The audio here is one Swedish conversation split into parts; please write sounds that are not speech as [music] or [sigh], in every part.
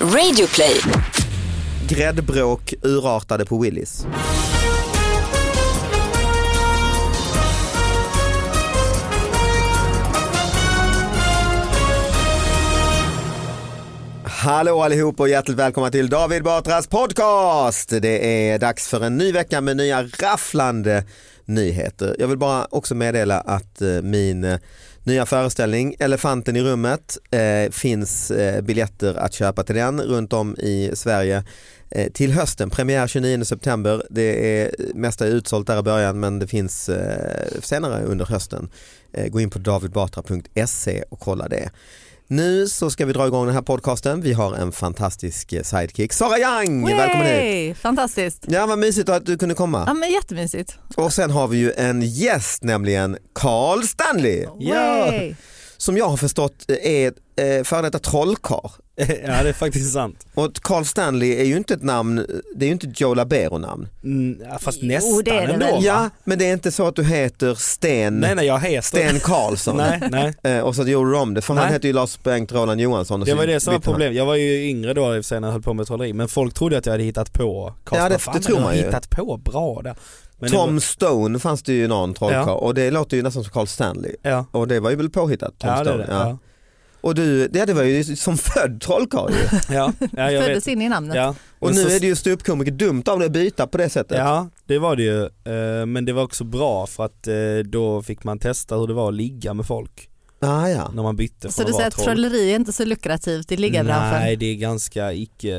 Radio Play. Gräddbråk urartade på Willys. Hallå allihop och hjärtligt välkomna till David Batras podcast. Det är dags för en ny vecka med nya rafflande nyheter. Jag vill bara också meddela att eh, min eh, nya föreställning Elefanten i rummet eh, finns eh, biljetter att köpa till den runt om i Sverige eh, till hösten. Premiär 29 september. Det är mesta är utsålt där i början men det finns eh, senare under hösten. Eh, gå in på davidbatra.se och kolla det. Nu så ska vi dra igång den här podcasten. Vi har en fantastisk eh, sidekick. Sara Young, välkommen hit. Yay! Fantastiskt. Ja, vad mysigt att du kunde komma. Ja, men jättemysigt. Och sen har vi ju en gäst nämligen Carl Stanley. Yay! Som jag har förstått är eh, före detta trollkarl. [laughs] Ja det är faktiskt sant. Och Carl Stanley är ju inte ett namn, det är ju inte ett Joe Labero namn. Mm, ja, fast nästan det är ändå. va? Ja men det är inte så att du heter Sten, Nej nej jag heter. Sten Karlsson. Nej nej. Eh, och så gjorde du om det för han Nej. hette ju Lars Bengt Roland Johansson. Och Det så var det som var bytte han. problemet. Jag var ju yngre då i och för sig när jag höll på med trolleri men folk trodde att jag hade hittat på Karlsson. Ja, det- Fan, det men tror du har man ju. hittat på bra där. Men det Tom var- Stone fanns det ju någon trollkarl Ja. och det låter ju nästan som Carl Stanley. Ja. Och det var ju väl påhittat Tom Ja, det är Stone. det. Ja. Och du, ja, det var ju som född trollkarl [laughs] ju. Ja, ja, jag vet. Föddes in i namnet. Ja. Och Men nu så- är det ju ståuppkomiker dumt av dig att byta på det sättet. Ja det var det ju, Eh, men det var också bra för att eh, då fick man testa hur det var att ligga med folk Ah, ja. när man bytte Så från du att vara säger att troll. trolleri är inte så lukrativt i liggarbranschen? Nej det är ganska icke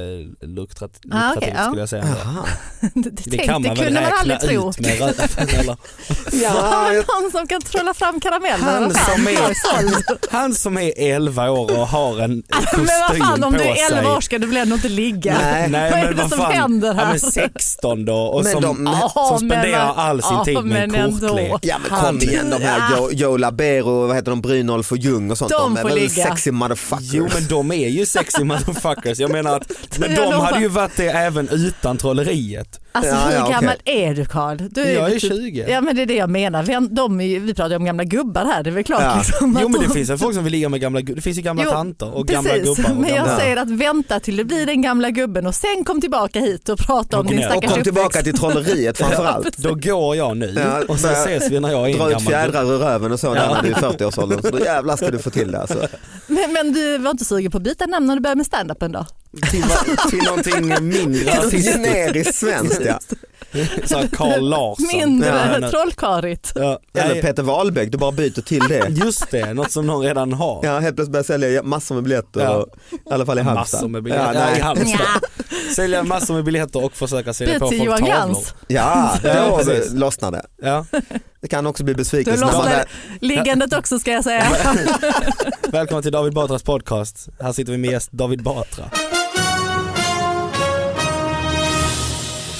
lukrativt Ah, okej, lukrativt ja. skulle jag säga. Jaha. [laughs] det Det tänkte, kan man väl kunde man räkna aldrig tro. [laughs] ut med röven [laughs] eller? Har Ja, man [laughs] någon som kan trolla fram karameller? Han Vad fan? som, är, han som är 11 år och har en kostym [laughs] Men vad fan om på du är 11 år sig. ska du väl ändå inte ligga? [laughs] Nej. vad är det som händer här? Ja, men 16 då och Men som, de- Ja, som spenderar men- all sin ja, tid med en men ändå. kortlek. ja men kom igen de här Joe, Joe Labero, vad heter de, Brynolf och Ljung och sånt. De är får väl ligga. sexy motherfuckers. Jo men de är ju sexy motherfuckers, jag menar att [laughs] men Jag de lovar. hade ju varit det även utan trolleriet. Alltså Ja, hur ja, okej. gammal är du Karl? Du Jag ju är 20. Ja men det är det jag menar. Vi, de är, ju- vi pratar ju om gamla gubbar här, det är väl klart. Ja. Liksom, att Jo men de- det finns väl folk som vill ligga med gamla, gu- det finns ju gamla Jo, tanter och Precis, gamla gubbar och men jag gamla... säger att vänta till du blir den gamla gubben och sen kom tillbaka hit och prata om Och din ner. stackars och kom uppväxt. tillbaka till [laughs] trolleriet framförallt. Då går jag nu Ja, och så börja- ses vi när jag är en Dra ut gammal gubbe. fjädrar ur röven och så Ja. när du är i 40-årsåldern. Så då jävlar ska du få till det alltså. Men, men du var inte sugen på att byta namn när du började med standupen då? Till, till någonting mindre rasistiskt. Generiskt svenskt ja. Såhär Carl Larsson. [laughs] Mindre Ja. eh, trollkarigt. Ja, Eller nej, Peter Wahlbeck, du bara byter till [laughs] det. just det, något som någon redan har. Ja, helt plötsligt börjar sälja massor med biljetter, Ja. och, i alla fall i Halmstad. Massor med biljetter. Ja, Ja, i nej. Halmstad. Sälja massor med biljetter och försöka sälja Byt på till folk Johan tavlor. Glans. ja [laughs] Ja, då precis. lossnar det. Ja. Det kan också bli Du besvikelse. när man lossnade väl- liggandet också ska jag [laughs] säga. Välkomna till David Batras podcast. Här sitter vi med gäst David Batra.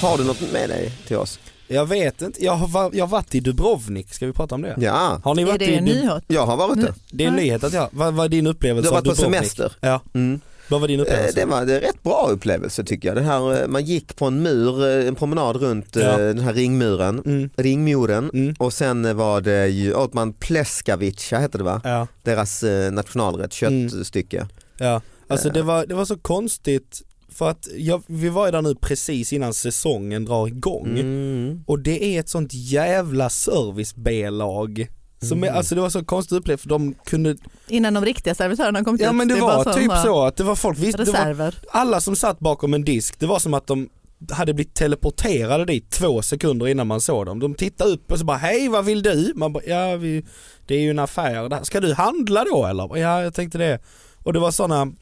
Har du något med dig till oss? Jag vet inte, jag har, va- jag har varit i Dubrovnik, ska vi prata om det? Ja. Har ni Är varit det i en Dub- nyhet? Jag har varit där. Det är en Nej. nyhet att jag, vad, vad är din Du upplevelse har av varit på Dubrovnik? semester. Ja, Mm. vad var din Eh, upplevelse? Det var en rätt bra upplevelse tycker jag. Det här, eh, man gick på en mur, eh, en promenad runt eh, Ja. den här ringmuren, Mm. ringmuren Mm. och sen eh, var det ju, åt man pleskavica hette det va? Ja, Deras eh, nationalrätt, Mm. köttstycke. ja. Alltså Eh. det var, det var så konstigt för att jag, vi var ju där nu precis innan säsongen drar igång Mm. och det är ett sånt jävla service B-lag som är, Mm. alltså det var så konstigt upplevt för de kunde, Innan de riktiga servitörerna kom ja ut. men det, är bara var de typ bara- så att det var folk, visst, det var Reserver. alla som satt bakom en disk, det var som att de hade blivit teleporterade dit två sekunder innan man såg dem. De tittade upp och så bara hej vad vill du? Man bara, ja vi, det är ju en affär där. Ska du handla då eller? Ja jag tänkte det. Och det var sådana,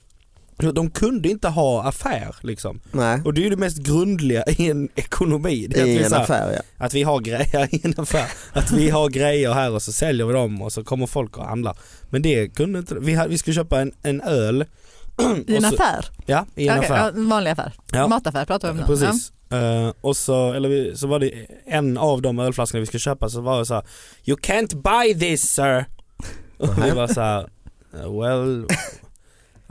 de kunde inte ha affär liksom. Nej, Och det är ju det mest grundliga i en ekonomi. Det är att, i vi, en så här, affär ja. att vi har grejer [laughs] i en affär. Att vi har grejer här och så säljer vi dem och så kommer folk och handlar. Men det kunde inte, vi, hade, vi skulle köpa en, en öl. [clears throat] I en Och så- affär? Ja, i en Okej, affär. ja, en vanlig affär. Ja. Mataffär pratar vi om nu. Precis. Eh, och så, eller vi, så var det en av de ölflaskorna vi skulle köpa så var det så här, You can't buy this sir! Och vi var så här, "Eh, Well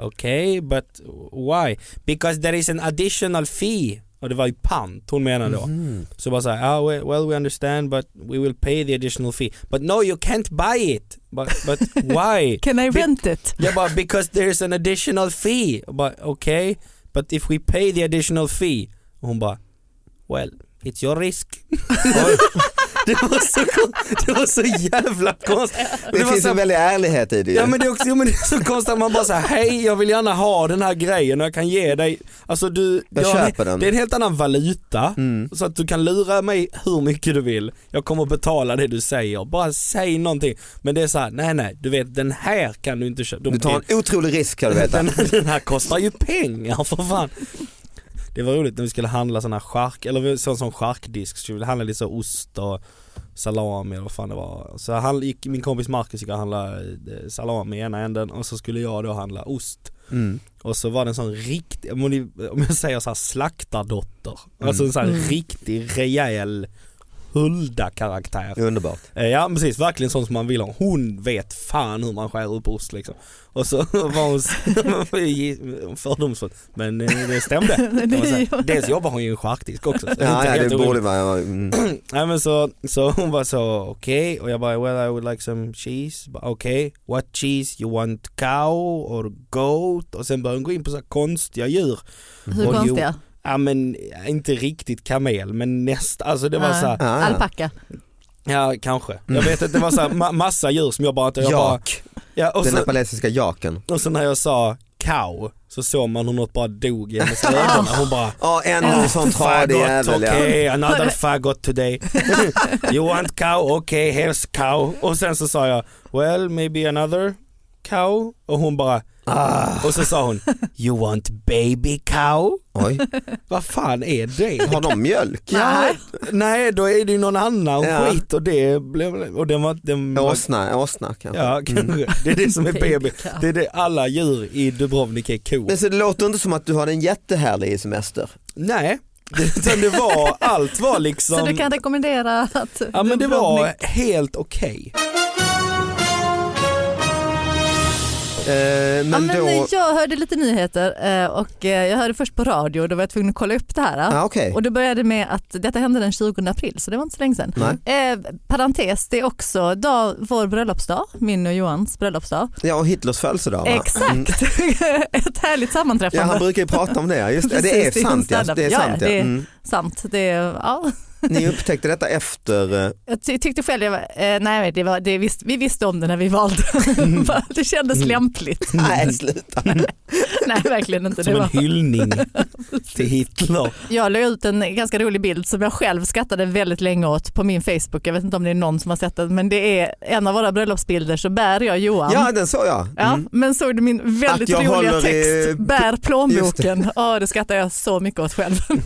Okay but why? Because there is an additional fee och det var ju pant hon menade då. Så bara såhär, ah, we- well we understand but we will pay the additional fee. But no you can't buy it! But, but why? Ja. [laughs] Can I rent it? Jag bara because there's an additional fee. Jag bara okej, okay, but if we pay the additional fee. Och hon bara well, it's your risk. [laughs] det, var så, kon- det var så jävla konstigt. Det, var finns så- en väldig ärlighet i det ju. Ja men det är också, jo, men det är så konstigt att man bara säger hej jag vill gärna ha den här grejen och jag kan ge dig, alltså du, Jag köper den. Mm. det är en helt annan valuta så att du kan lura mig hur mycket du vill, jag kommer betala det du säger, bara säg någonting. Men det är så här, nej nej du vet den här kan du inte köpa. De- Du tar en otrolig risk kan du veta. den, den här kostar ju pengar för fan. Det var roligt när vi skulle handla sån här chark, eller vi- sån som charkdisk, så vi ville handla lite så ost och salami eller vad fan det var. Så han gick, min kompis Marcus gick och handlade eh, salami i ena änden och så skulle jag då handla ost. Mm. Och så var det en sån riktig, om ni- om jag säger så här slaktardotter, alltså en sån här riktig rejäl Hulda-karaktär. Det är Underbart. Eh, Ja precis, verkligen sånt som man vill ha. Hon vet fan hur man skär upp ost liksom. Och så [laughs] var hon så- [laughs] fördomsfull, men eh, [laughs] det stämde. kan man säga. Dels jobbar hon ju i en charkdisk också. Så det är Ja, inte ja, helt det orimligt. borde vara, mm. Nej men så, så hon var så okej och jag bara well I would like some cheese. Bara, Okej, what cheese? You want cow or goat? Och sen började hon gå in på så här konstiga djur. Hur Och jo, konstiga? Ja men inte riktigt kamel men nästan, alltså det var så här, Ja. Ah. Alpacka. Ja kanske. Jag vet att det var så här, ma- massa djur som jag bara inte... Jag bara, Mm. jak, ja, och, den så, nepalesiska jaken. och så när jag sa cow så såg man hur något bara dog [laughs] i hennes ögon och hon bara Ja en sån tradig Faggot, jävel ja. okay, another faggot today. [laughs] you want cow, okay, here's cow. Och sen så sa jag, well maybe another cow. Och hon bara, Ah. och så sa hon, you want baby cow? Oj, Vad fan är det? har de mjölk? Ja, nej, då är det ju någon annan Ja. skit och det blev, och den var, den var Åsna, åsna kanske. Ja kanske, det är det [laughs] som är Baby baby. Det är det alla djur i Dubrovnik är kor. Men så det låter inte som att du hade en jättehärlig semester. [laughs] Nej, det, utan det var, allt var liksom, Så du kan rekommendera att ja men det var Dubrovnik- helt okej. Eh, men, Ja, men då... Jag hörde lite nyheter eh, och eh, jag hörde först på radio och då var jag tvungen att kolla upp det här. eh. Ah, okej. Och det började med att detta hände den 20 april så det var inte så länge sedan. Eh, parentes, det är också dag, vår bröllopsdag, min och Johans bröllopsdag. Ja och Hitlers födelsedag va? Exakt, [laughs] ett härligt Ja han sammanträffande. brukar ju prata om det, just det. Det är Precis, det är sant ja. standard. Det är Ja, ja, sant, ja. det är- Mm. Sant, det, är- ja. Ni upptäckte detta efter, eh, Jag ty- tyckte själv, jag var, eh, nej det var, det visst, vi visste om det när vi valde. [laughs] Bara, det kändes lämpligt. Mm. nej sluta. nej verkligen inte. Det Som en var, [laughs] hyllning till Hitler. jag la ut en ganska rolig bild som jag själv skrattade väldigt länge åt på min Facebook. Jag vet inte om det är någon som har sett den men det är en av våra bröllopsbilder så bär jag Johan. Ja den såg jag. Mm. Ja, men såg du min väldigt Att jag roliga håller i- text, bär Just plånboken. Ja, det skrattar jag så mycket åt själv. [laughs] men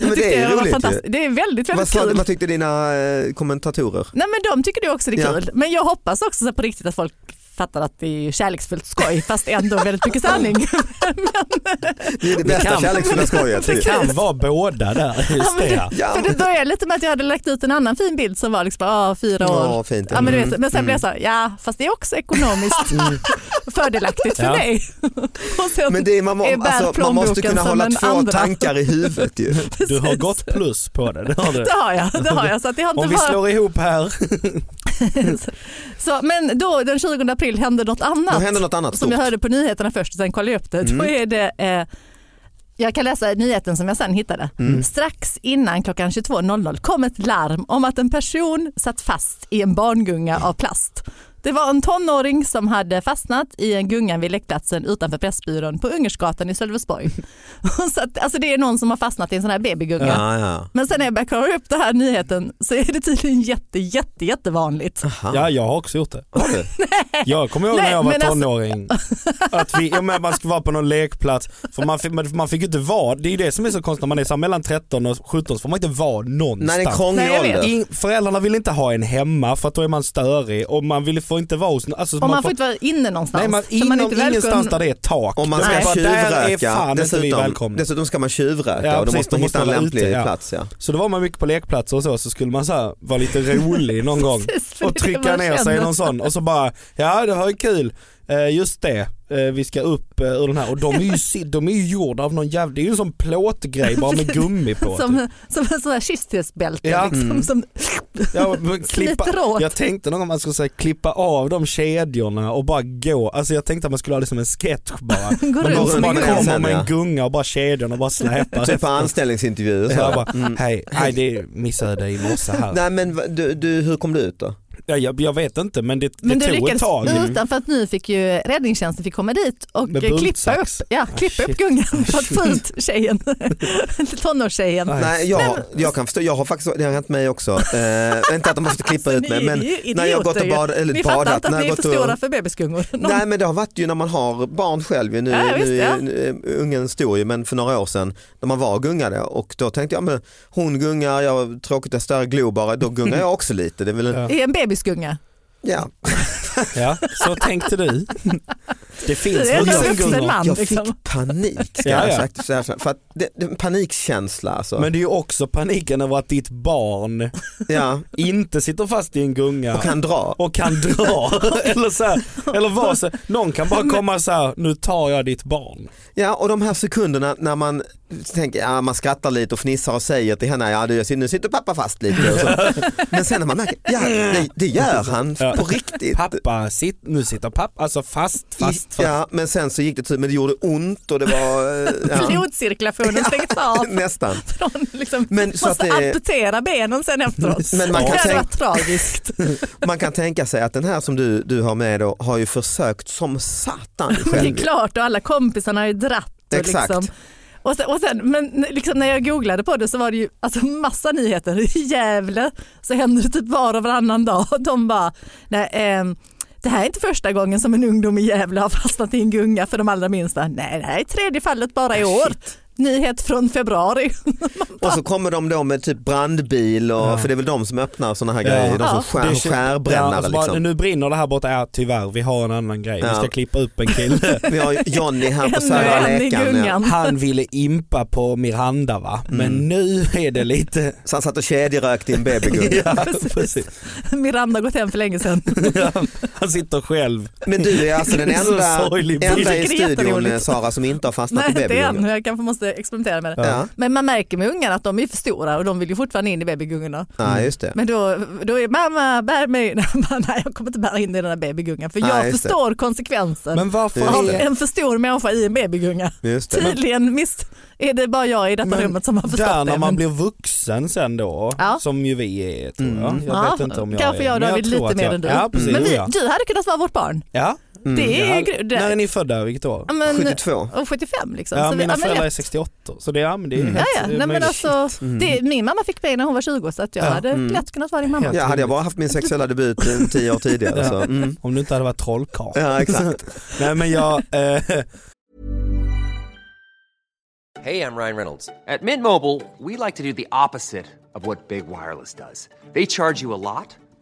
det är ju roligt ju. det är väldigt, Vad, väldigt sa, kul. vad tyckte dina eh, kommentatorer? Nej men de tycker det också det är Ja. kul. Men jag hoppas också så på riktigt att folk fattar att det är ju kärleksfullt skoj fast ändå väldigt mycket [laughs] sanning. [laughs] Det är det bästa kan- kärleksfulla skojet. Det kan vara båda där. Just det. ja. Ja, För det började lite med att jag hade lagt ut en annan fin bild som var liksom, ah, fyra år. Ja, fint. Ja, men, du vet, Mm. men sen blev jag så här, ja fast det är också ekonomiskt [laughs] fördelaktigt för Ja. mig. [laughs] Och sen Men det är, man, må- är värd alltså, man måste plånboken kunna som hålla en två andra. tankar i huvudet ju. Du har gått plus på det. det, har du. Det har jag, det har jag. Så att det har Om inte vi varit... slår ihop här. så, men då den 20 april hände något annat. Då hände något annat som jag stort. hörde på nyheterna först och sen kollade jag upp det. Då Mm. är det eh, jag kan läsa nyheten som jag sen hittade. Mm. Mm. Strax innan klockan 22.00 kom ett larm om att en person satt fast i en barngunga av plast. Det var en tonåring som hade fastnat i en gunga vid lekplatsen utanför Pressbyrån på Ungersgatan i Sölvesborg. [laughs] Och Så att, alltså det är någon som har fastnat i en sån här babygunga. Ja, ja. Men sen när jag började kolla upp den här nyheten så är det tydligen jätte, jätte, jättevanligt. Ja, jag har också gjort det. Har du? Jag kommer ihåg när Nej, jag var men alltså- tonåring. Att vi, ja, men man ska vara på någon lekplats. För man, fick, men man fick ju inte vara, det är ju det som är så konstigt när man är så här mellan 13 och 17 så får man inte Nej, vara det är en någonstans. krånglig Nej, jag vet. ålder. In, föräldrarna vill inte ha en hemma för att då är man störig och man vill, får inte vara hos alltså, Och man får inte vara inne någonstans. Nej, man, för inom, man är inte välkommen. ingenstans [laughs] där det är tak. Om man Då ska är bara, där är tjuvröka, fan inte vi dessutom, välkomna. dessutom ska man tjuvröka Ja, och då precis, måste man då hitta måste en man vara lämplig ute, ja. plats. Ja. Så då var man mycket på lekplatser och så, så skulle man så här, vara lite [laughs] rolig någon gång Precis, för det är och det trycka man ner sig i känner. någon sån och så bara, ja det var ju kul, eh, just det, eh, vi ska upp eh, ur den här och de [laughs] är ju, si- de är ju gjorda av någon jävla, det är ju en sån plåtgrej [laughs] bara med gummi på. typ. Som, som en sån här kyskhetsbälte. Ja. Liksom, Mm. som, Ja, [laughs] men klippa, Sliter åt. jag tänkte någon gång man skulle säga klippa av de kedjorna och bara gå, alltså jag tänkte att man skulle ha det som en sketch [laughs] bara. Gå Men runt de som med bara gunga. kommer med Ja. en gunga och bara [laughs] kedjorna och bara släpar Typ på efter. anställningsintervjuer. Så. Jag bara, hej, nej det missade jag dig i morse här. Mm. Nej men va- du, du, hur kom du ut då? Ja, jag, jag vet inte men det, men det du tog ett lyckades tag. utan för att nu fick ju räddningstjänsten fick komma dit och Med eh, klippa upp, bultsax. ja, Ah, klippa upp shit. gungan för att få ut [laughs] tjejen, tonårstjejen. Nej. Nej, jag, jag kan förstå, jag har faktiskt, det har hänt mig också. Eh, inte att de Alltså, måste klippa ut mig men när jag gått och bad, eller Ni fattar badat. inte När att ni jag är gått för stora och, för bebisgungor. Någon- nej men det har varit ju när man har barn själv ju. Nu, Ja, visst, nu, ja. nu- Ungen stor ju men för några år sedan när man var och gungade och då tänkte jag men hon gungar, jag tråkigt jag stör glor bara, då gungar jag också lite. Det är väl en, ja. I en bebisgunga. Ja, så tänkte du. Det finns Det är Och en jag- vuxengungor. vuxen man. Jag fick Liksom. panik ska Ja, jag ja. sagt, så här, för att det, det är en panikkänsla alltså. Men det är ju också paniken över att ditt barn ja, inte sitter fast i en gunga och kan dra. och [laughs] kan dra. eller så här, eller vad så, någon kan bara komma så här, nu tar jag ditt barn. Ja och de här sekunderna när man tänker, ja, man skrattar lite och fnissar och säger till henne, ja du, nu sitter pappa fast lite. [laughs] Och så. Men sen när man märker, ja det, det gör han Ja. på riktigt. Pappa, sit, nu sitter pappa, alltså fast, fast, fast. Ja men sen så gick det till, men det gjorde ont och det var [laughs] eh, ja, Blodcirkulationen stängs av. [laughs] nästan. Från, liksom, Men så måste att det- amputera benen sen efteråt. Men man det kan hade tänka- varit tragiskt. Man kan tänka sig att den här som du, du har med då har ju försökt som satan Men [laughs] det är själv. klart och alla kompisarna har ju dratt. Och Exakt. Liksom. Och sen, och sen, men liksom när jag googlade på det så var det ju alltså massa nyheter. [laughs] I Gävle så händer det typ var och varannan dag. De bara, nej, ehm, det här är inte första gången som en ungdom i Gävle har [laughs] fastnat i en gunga för de allra minsta. Nej, det här är tredje fallet bara i Ah, år. Nyhet från februari. [laughs] Och så kommer de då med typ brandbil och, för det är väl de som öppnar sådana här grejer, de som Ja. skär, Det är- skärbrännare Ja, alltså och så bara, liksom. Nu brinner det här borta, ja tyvärr vi har en annan grej, vi Ja. ska klippa upp en kille. [laughs] Vi har ju Johnny [laughs] här på Ännu Södra en i Lekan. Ja. [laughs] gungan. Han ville impa på Miranda va, men Mm. nu är det lite [laughs] Så han satt och kedjerökte i [laughs] en babygummi. Ja, Precis. precis. Miranda har gått hem för länge [laughs] sedan. Ja, han sitter själv. Men du är [laughs] alltså den Det är så enda, sorglig bild. enda i Jag tycker det är studion jätteroligt. eh, Sara som inte har fastnat Nej, i inte än. babygungor. Jag kanske måste experimentera med det. Ja. Men man märker med ungarna att de är för stora och de vill ju fortfarande in i babygungorna. Ja, just det. Men då, då är mamma bär mig, [laughs] Nej, mamma, nej jag kommer inte bära in i den här babygungan för jag Nej, just det. förstår konsekvensen Men varför av är, en för stor människa i en babygunga. Just det. Tydligen miss, är det bara jag i detta men rummet som har förstått där det. när men- man blir vuxen sen då, Ja. Mm. som ju vi är tror jag. Jag Ja, vet inte om jag kanske är. jag och men David tror lite att mer jag- än du. Ja, precis. Men vi, ja. du hade kunnat vara vårt barn. Ja. Det är ju Ja, gru- det- När är ni födda, vilket år? Ja, men- 72. Och 75 liksom. Ja, Så vi- mina ja, men föräldrar jag- är 68 så det, ja, men det är helt Ja, ja. Nej, men möjligt. Mm. alltså, det, min mamma fick mig när hon var 20 så att jag Ja, hade lätt kunnat vara din mamma. Ja, hade jag bara haft min sexuella debut eh, tio år tidigare så. Mm. Om du inte hade varit trollkarl. [laughs] Ja, exakt. Nej [laughs] men jag, eh, Hey, I'm Ryan Reynolds. At Mint Mobile, we like to do the opposite of what Big Wireless does. They charge you a lot,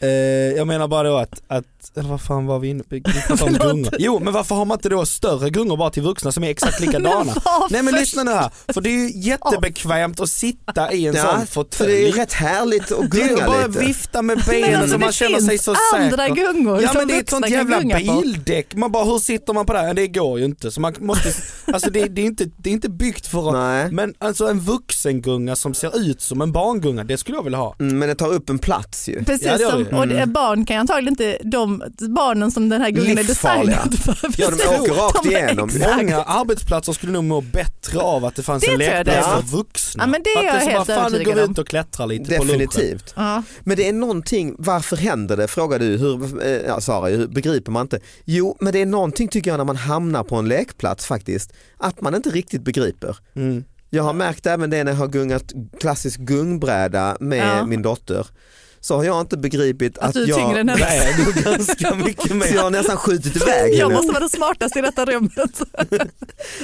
Eh, jag menar bara då att, att, eller vad fan var vi inne på? Vi pratade om gungor. Jo men varför har man inte då större gungor bara till vuxna som är [laughs] exakt likadana? varför? Nej men lyssna nu här, för det är ju jättebekvämt att sitta i en Ja, sån för det är fåtölj. ju rätt härligt att Det är gunga bara lite. vifta med Men benen alltså, så det man känner sig finns så säker. andra gungor Ja som men det är ett vuxna sånt kan jävla gunga på. bildäck, man bara hur sitter man på det? här? Det går ju inte. Så man måste, alltså det, det, är inte, det är inte byggt för att, men alltså en vuxengunga som ser ut som en barngunga, det skulle jag vilja ha. Mm, Men den tar upp en plats ju. Precis, som, och Mm. det, barn kan ju antagligen inte, de barnen som den här gungan är Livsfarliga. designad för. Ja, de precis, åker rakt de är- igenom. exakt. Många arbetsplatser skulle nog må bättre av att det fanns Det en tror jag lekplats det. för Ja. vuxna. Ja, men det är att jag så helt bara, fan, nu går övertygad vi om. ut och klättrar lite på lunchen. Definitivt. Ja. Men det är någonting, varför händer det frågar du, hur, eh, ja, Sara, hur begriper man inte? Jo, men det är någonting tycker jag när man hamnar på en lekplats faktiskt, att man inte riktigt begriper. Jag har märkt även det när jag har gungat klassisk gungbräda med Ja. min dotter. Så har jag inte begripit att, du är jag... tyngre än henne. Nej, [laughs] du är ganska mycket mer. Så jag har nästan skjutit iväg Jag henne. måste vara den smartaste i detta [laughs] rummet. Ja,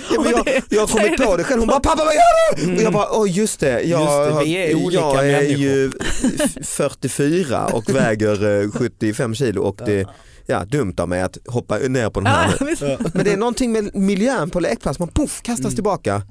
men Och jag, det- jag har kommit det är på det själv, hon bara pappa vad gör du? Och jag bara, åh just det, jag, Mm. Just det, vi är olika jag är människor." ju f- 44 och väger eh, 75 kilo och det Ja, dumt av mig att hoppa ner på den [laughs] här. Ja, visst. Men det är någonting med miljön på lekplats, man poff kastas Mm. tillbaka.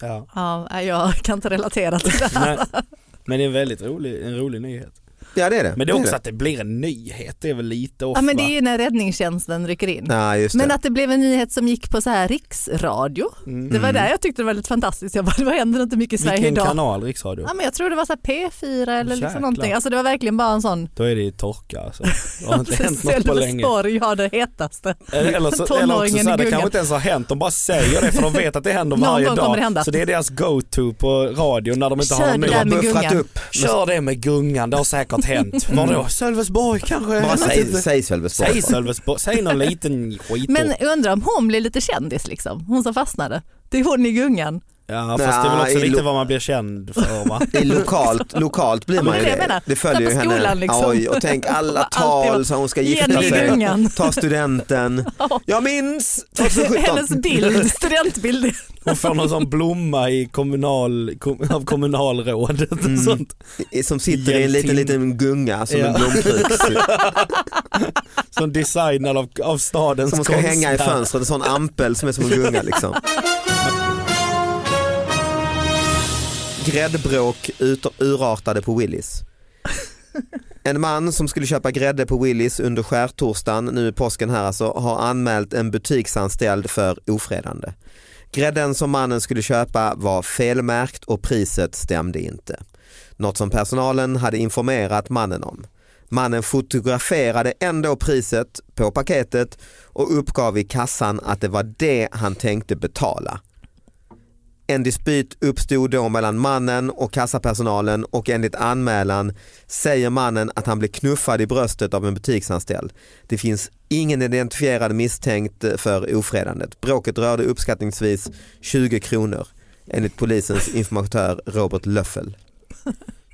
Ja. [laughs] Ja, jag kan inte relatera till det här. Men, men det är en väldigt rolig, en rolig nyhet. Ja det är det. Men det är också att det blir en nyhet, det är väl lite off Ja, men det är va? ju när räddningstjänsten rycker in. Ja, just det. Mm. Men att det blev en nyhet som gick på så här riksradio. Det var där jag tyckte det var lite fantastiskt. Jag bara, vad händer inte mycket i Sverige Vilken idag? kanal riksradio? Ja, men jag tror det var så här P4 eller Jäklar. liksom någonting. Alltså det var verkligen bara en sån. Då är det ju torka alltså. Det har inte hänt något på länge. Sölvesborg har det hetaste. Eller, eller så, eller också Tonåringen så här, det i kanske gungan. inte ens har hänt, de bara säger det för de vet att det händer Någon varje gång dag. kommer det hända. Så det är deras go-to på radio när de inte Kör har det där med någon. De har buffrat gungan. upp. Kör det med gungan, det har säkert hänt. Vadå, Sölvesborg kanske? Jag Bara vet säg, inte. säg Sölvesborg. Säg Sölvesborg, säg någon liten skitort. Men jag undrar om hon blir lite kändis liksom, hon som fastnade. Det är hon i gungan. ja fast det är väl Nej, också i lite lo- vad man blir känd för va? I lokalt, lokalt [laughs] blir Ja, men man ju det är det jag det. menar. Det följer Där ju på henne. skolan liksom. Oj, och [laughs] tänk alla Alltid vara- tal som hon ska gifta Jenny i sig, gungan. ta studenten. [laughs] Jag minns 2017. Hennes bild, studentbild. Hon får någon sån blomma i kommunal, kom, av kommunalrådet Mm. och sånt. Som sitter i en liten, Hjältin. liten gunga som en Ja. [laughs] blomkrux. Som designad av, av stadens Som ska konstnär. hänga i fönstret, en sån ampel som är som en gunga liksom. Gräddbråk ut- urartade på Willys. En man som skulle köpa grädde på Willys under skärtorsdagen, nu i påsken här alltså, har anmält en butiksanställd för ofredande. Grädden som mannen skulle köpa var felmärkt och priset stämde inte. Något som personalen hade informerat mannen om. Mannen fotograferade ändå priset på paketet och uppgav i kassan att det var det han tänkte betala. En dispyt uppstod då mellan mannen och kassapersonalen och enligt anmälan säger mannen att han blev knuffad i bröstet av en butiksanställd. Det finns ingen identifierad misstänkt för ofredandet. Bråket rörde uppskattningsvis 20 kronor enligt polisens informatör Robert Löffel.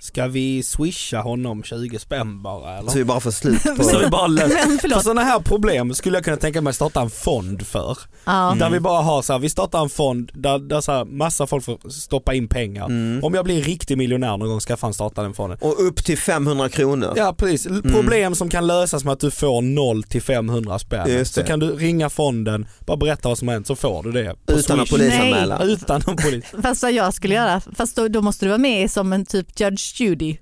Ska vi swisha honom 20 spänn bara eller? Så vi bara får slut på... Så vi [laughs] bara Men löser. förlåt. För sådana här problem skulle jag kunna tänka mig starta en fond för. Ja. Mm. Där vi bara har så här, vi startar en fond där, där så här, massa folk får stoppa in pengar. Mm. Om jag blir riktig miljonär någon gång ska jag fan starta den fonden. Och upp till 500 kronor. Ja precis, L- Mm. problem som kan lösas med att du får 0 till 500 spänn. Just Så det. kan du ringa fonden, bara berätta vad som har hänt så får du det. på Utan att Swish. polisanmäla. [laughs] Nej. Utan att polis. Fast vad jag skulle göra, fast då, då måste du vara med som en typ Judge Judy.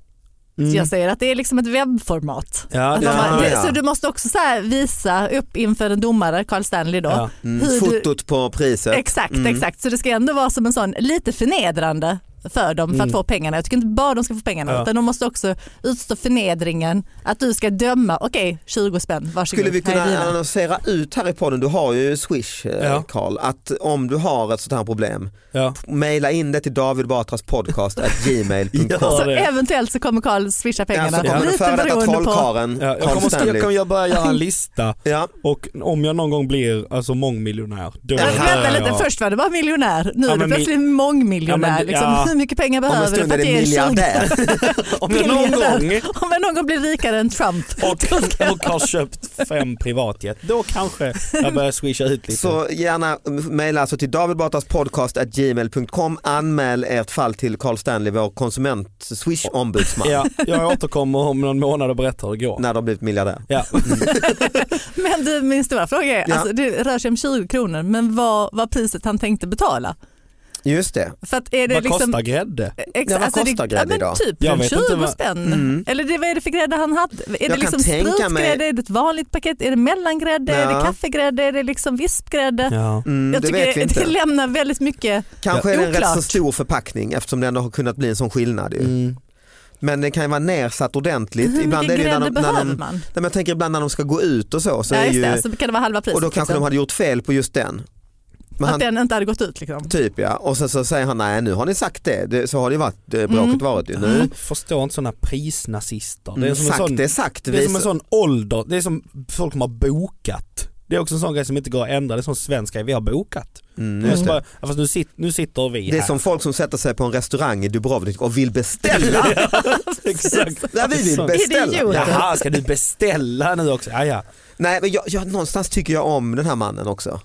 Så jag säger att det är liksom ett webbformat. Mm. Ja, Att det- man bara, ja, det, ja. Så du måste också så här visa upp inför en domare, Carl Stanley då. Ja. Mm. hur du- Fotot på priset. Exakt, Mm. exakt. Så det ska ändå vara som en sån lite förnedrande för dem för att Mm. få pengarna. Jag tycker inte bara de ska få pengarna Ja. utan de måste också utstå förnedringen att du ska döma, okej 20 spänn, varsågod. Skulle vi kunna här är dina. annonsera ut här i podden, du har ju Swish eh, Ja. Carl, att om du har ett sånt här problem, Ja. mejla in det till David Batras podcast at gmail.com. [laughs] så eventuellt så kommer Carl swisha Ja, Alltså, pengarna. så kommer den före detta trollkarlen, Ja, jag Carl kommer, skriva- Stanley. jag kommer [laughs] bara göra en lista ja. och om jag någon gång blir alltså, mångmiljonär då... Ja, men vänta lite, först var du bara miljonär, nu Ja, är du men mi- plötsligt mångmiljonär. Ja, men- liksom, ja. Hur mycket pengar Om en behöver du stund för är att det ge en miljardär. [laughs] Om jag någon gång Om jag någon gång blir rikare än Trump. [laughs] och har köpt fem privatjet, då kanske jag börjar swisha ut lite. Så gärna mejla alltså till davidbatraspodcast.gmail.com Anmäl ert fall till Carl Stanley, vår konsument swish ombudsman Ja, jag återkommer om någon månad och berättar hur det går. när de blivit miljardär. Ja. Men du, min stora fråga är, Ja. alltså, det rör sig om 20 kronor, men vad var priset han tänkte betala? Just det. För att [laughs] är det Vad liksom, kostar grädde? Ex- Ja, vad alltså, kostar det, grädde ja, men idag? Typ Jag en vet 20 inte vad- spänn. Mm. Eller det, vad är det för grädde han hade? Är det kan liksom tänka mig- sprutgrädde, är det ett vanligt paket, är det mellangrädde, är Ja. det kaffegrädde, är det liksom vispgrädde? Ja. Mm, Jag det tycker vet vi [laughs] det, inte. lämnar väldigt mycket Kanske är det en oklart. rätt så stor förpackning eftersom det ändå har kunnat bli en sån skillnad. Ju. Mm. Men det kan ju vara nersatt ordentligt. Hur ibland mycket är det grädde ju när de, när behöver de, man? Nej, men jag tänker ibland när de ska gå ut och så. så ja, är just ju, det, alltså så kan det vara halva priset. och då kanske de liksom. hade gjort fel på just den. Men Att han, den inte hade gått ut liksom. Typ ja, och sen så säger han nej nu har ni sagt det, det så har det ju varit eh, bråket Mm. varit ju. Nu. Mm. Förstår inte sådana prisnazister. Mm, som en sagt sån- är sagt. Det är som Visa- en sån ålder, det är som folk som har bokat. Det är också en sån grej som inte går att ändra, det är som svensk grej, vi har bokat. Mm, Det är just som det. bara, ja, fast nu, sit, nu sitter vi det är här. som folk som sätter sig på en restaurang i Dubrovnik och vill beställa. [laughs] [laughs] Exakt. Nej, vi vill Sån- beställa. Idioter. Jaha, ska du beställa nu också? Ja, ja. nej men jag, jag, någonstans tycker jag om den här mannen också.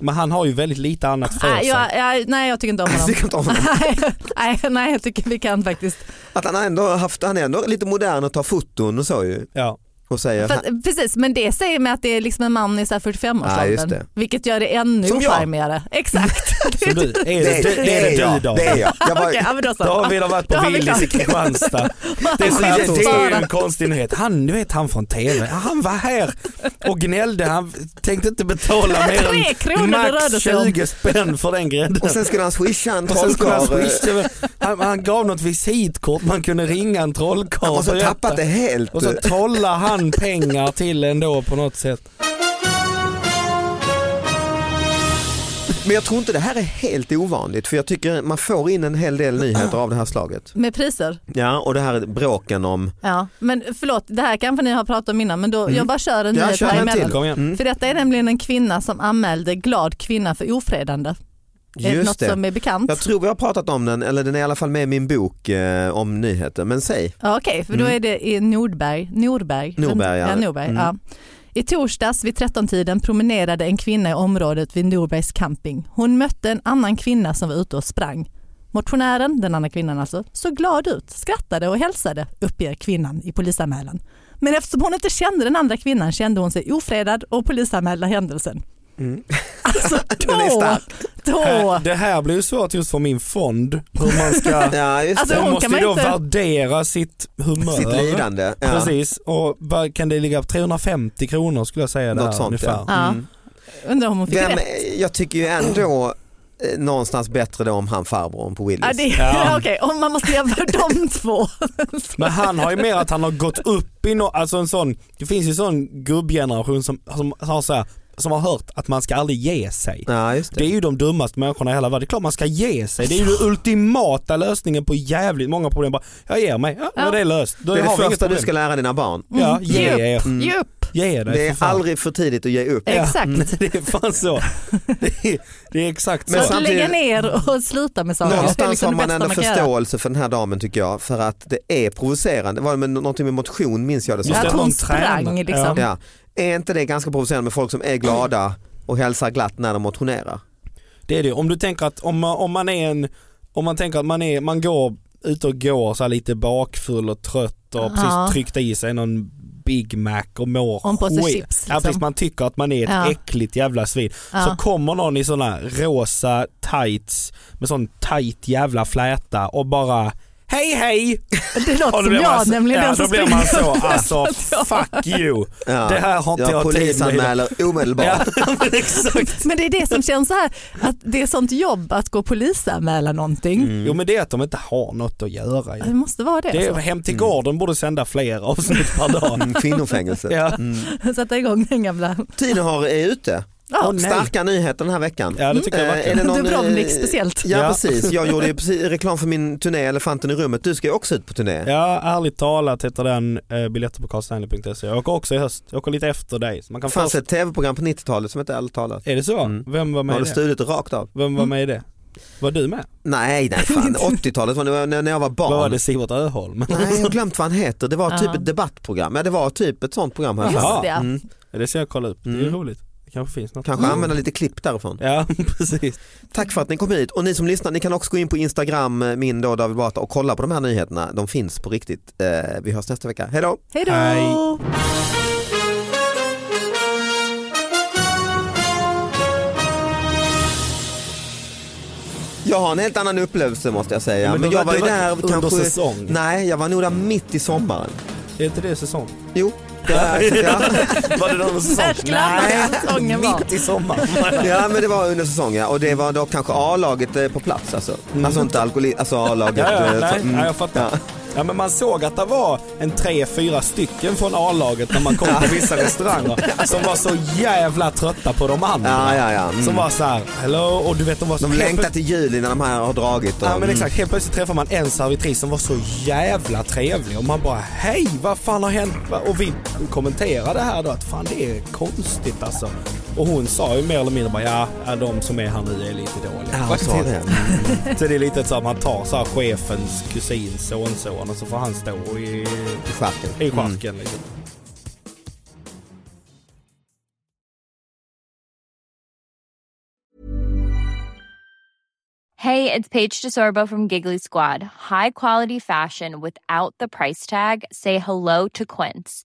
Men han har ju väldigt lite annat för Nej, sig. jag, jag, nej, jag tycker [laughs] inte om Jag honom. tycker inte om honom. [laughs] nej, nej, jag tycker vi kan faktiskt. Att han ändå har haft, han är ändå lite modern och tar foton och så ju. Ja. Och säger, För att, precis, men det säger mig att det är liksom en man i så här Ja, 45-årsåldern. just det. vilket gör det ännu Som jag. ocharmigare. [laughs] Exakt. [laughs] [laughs] Som du, är det, det, det är det jag, du då? det är jag. jag bara, Okej, [laughs] ja, men då så. David har varit på Då har vi Willys i klart. [laughs] Kristianstad. Det är, så här, Det är det är ju bara- en konstig nyhet. Han, du vet han från TV, han var här och gnällde. Han tänkte inte betala mer Tre kronor än det max rörde sig om. 20 spänn för den grädden. och sen skulle han swisha en Och sen skulle han, trollkarl. eh, swisha, han, han gav något visitkort, man kunde ringa en trollkarl. Och så berätta. Alltså, tappat det helt. Och så trollar han pengar till en då på något sätt. Men jag tror inte det här är helt ovanligt för jag tycker man får in en hel del nyheter av det här slaget. Med priser. Ja och det här bråken om Ja. Men förlåt, det här kanske ni har pratat om innan men då, jag bara kör en Mm. Ja, nyhet kör här en emellan. till. Mm. Kom igen. För detta är nämligen en kvinna som anmälde glad kvinna för ofredande. är det Just något det. som är bekant? Jag tror vi har pratat om den, eller den är i alla fall med i min bok eh, om nyheter. Men säg. Ja, Okej, för då Mm. är det i Nordberg. Nordberg, Norberg, ja. ja. Norberg Mm. ja. I torsdags vid 13-tiden promenerade en kvinna i området vid Norbergs camping. Hon mötte en annan kvinna som var ute och sprang. Motionären, den andra kvinnan alltså, såg glad ut, skrattade och hälsade, uppger kvinnan i polisanmälan. Men eftersom hon inte kände den andra kvinnan kände hon sig ofredad och polisanmälde händelsen. Alltså Mm. [laughs] Den är då, stark. Äh, då, Det här blir ju svårt just för min fond. Hur man [laughs] ska... Ja, just Alltså, det. Hon hon måste kan ju då man inte- värdera sitt humör. Sitt lidande. Ja. Precis, och vad kan det ligga på 350 kronor skulle jag säga där Något sånt ungefär. ja. Mm. undrar om hon fick Vem, rätt. jag tycker ju ändå eh, någonstans bättre då om han farbrorn på Willys. Ja, det, Ja. ja. [laughs] Okej, om man måste jämföra [laughs] de två. Men han har ju mer att han har gått upp i no, alltså en sån, det finns ju en sån gubbgeneration som, som, har så här, som har hört att man ska aldrig ge sig. Ja, just Det är det. ju de dummaste människorna i hela världen. Det är klart man ska ge sig. Det är ju den ultimata lösningen på jävligt många problem. Bara, jag ger mig, ja, ja. Ja. Mm. det är löst. Då Det är har det vi inget första du problem. ska lära dina barn. Ja, ge Ge upp. er. Mm. Ge upp. Ge dig Det för är fan. aldrig för tidigt att ge upp. Ja, Exakt. mm, [laughs] Det är fan så. Det är, det är exakt Men så. så att lägga ner och sluta med saker. Det är Någonstans liksom har det man bästa ändå kan göra. förståelse för den här damen tycker jag för att det är provocerande. Det var med någonting med motion minns jag det som. Just Att det. hon någon sprang tränar. liksom. Ja. Är inte det ganska provocerande med folk som är glada och hälsar glatt när de motionerar? Det är det. Om du tänker att om man, om man är en, om man tänker att man är, man går ut och går så här lite bakfull och trött och Ja. precis tryckt i sig någon Big Mac och mår Och en påse skit. chips, liksom. Ja, precis, man tycker att man är ett Ja. äckligt jävla svin. Så Ja. kommer någon i sådana rosa tights med sån tight jävla fläta och bara hej hej. Det låter Och då som blir man jag så- nämligen ja, den som Då blir man springer. så, [laughs] alltså fuck you. Ja. Det här har inte Jag jag, tid med. polisanmäler omedelbart. [laughs] Ja, [laughs] men exakt. Men det är det som känns så här, att det är sånt jobb att gå och polisanmäla någonting. Mm. Jo men det är att de inte har något att göra. ju. Det måste vara det. Det är, alltså. hem Mm. till gården borde sända fler avsnitt per dag. Kvinnofängelse. [laughs] Ja. Mm. alltså. [laughs] Sätta igång den gamla. Tiden har, är ute. Ja. nej. Starka nyheter den här veckan. Ja, [laughs] det tycker jag Eh, verkligen. är det någon, Dubrovnik eh, speciellt. Ja, Ja. precis, jag gjorde [laughs] ju precis reklam för min turné Elefanten i rummet. Du ska ju också ut på turné. Ja, ärligt talat heter den eh, biljetter på karlstanley.se. Jag åker också i höst. Jag åker lite efter dig. Så man Det kan fanns först... ett tv-program på 90-talet som hette Ärligt talat. Är det så? Vem var Mm. med Har i du det? stulit Mm. rakt av? Vem var med i det? Var du med? Nej, nej [laughs] fan. 80-talet var när- när jag var barn. Vad var det Sivert Öholm? Nej, jag har glömt vad han heter. Det var typ Ja. ett debattprogram. Ja, det var typ ett sånt program. Här. Just Jaha. det. ja. Mm. Det ska jag kolla upp. Det [laughs] är Mm. roligt. Det kanske finns något. Mm. Kanske använda lite klipp därifrån. Ja, [laughs] precis. Tack för att ni kom hit och ni som lyssnar ni kan också gå in på Instagram, eh, min då David Batra och kolla på de här nyheterna. De finns på riktigt. Eh, Vi hörs nästa vecka. Hej då! Hej då! Hej. Jag har en helt annan upplevelse måste jag säga. Men Men, det jag var- var ju det var där under säsong. Nej, jag var nog där mitt i sommaren. Är inte det säsong? Jo. [laughs] Ja, ja. Var det någon säsong? Världsklass vad säsongen var. Mitt i sommaren. [laughs] ja men det var under säsong ja. och det var då kanske A-laget eh, på plats alltså. Alltså inte alkohol, alltså A-laget. Mm. Ja, ja, eh, nej, så- mm. ja, jag fattar. Ja. men man såg att det var en tre, fyra stycken från A-laget när man kom på [laughs] vissa restauranger som var så jävla trötta på de andra. Ja, ja, ja. Mm. Som var så här, hello, och du vet de var så De längtar till juli när de här har dragit. Och, Ja men mm. exakt, helt plötsligt träffar man en servitris som var så jävla trevlig och man bara hej vad fan har hänt? Va- Och vi kommenterade här då att fan det är konstigt alltså. Och hon sa ju mer eller mindre bara ja, ja, de som är här nu är lite dåliga. Mm. Ja, hon sa det. Så det är lite så att man tar så här chefens kusin sonson och så får han stå i, I skärken. i charken liksom. Hey, it's Paige DeSorbo from Giggly Squad. High quality fashion without the price tag. Say hello to Quince.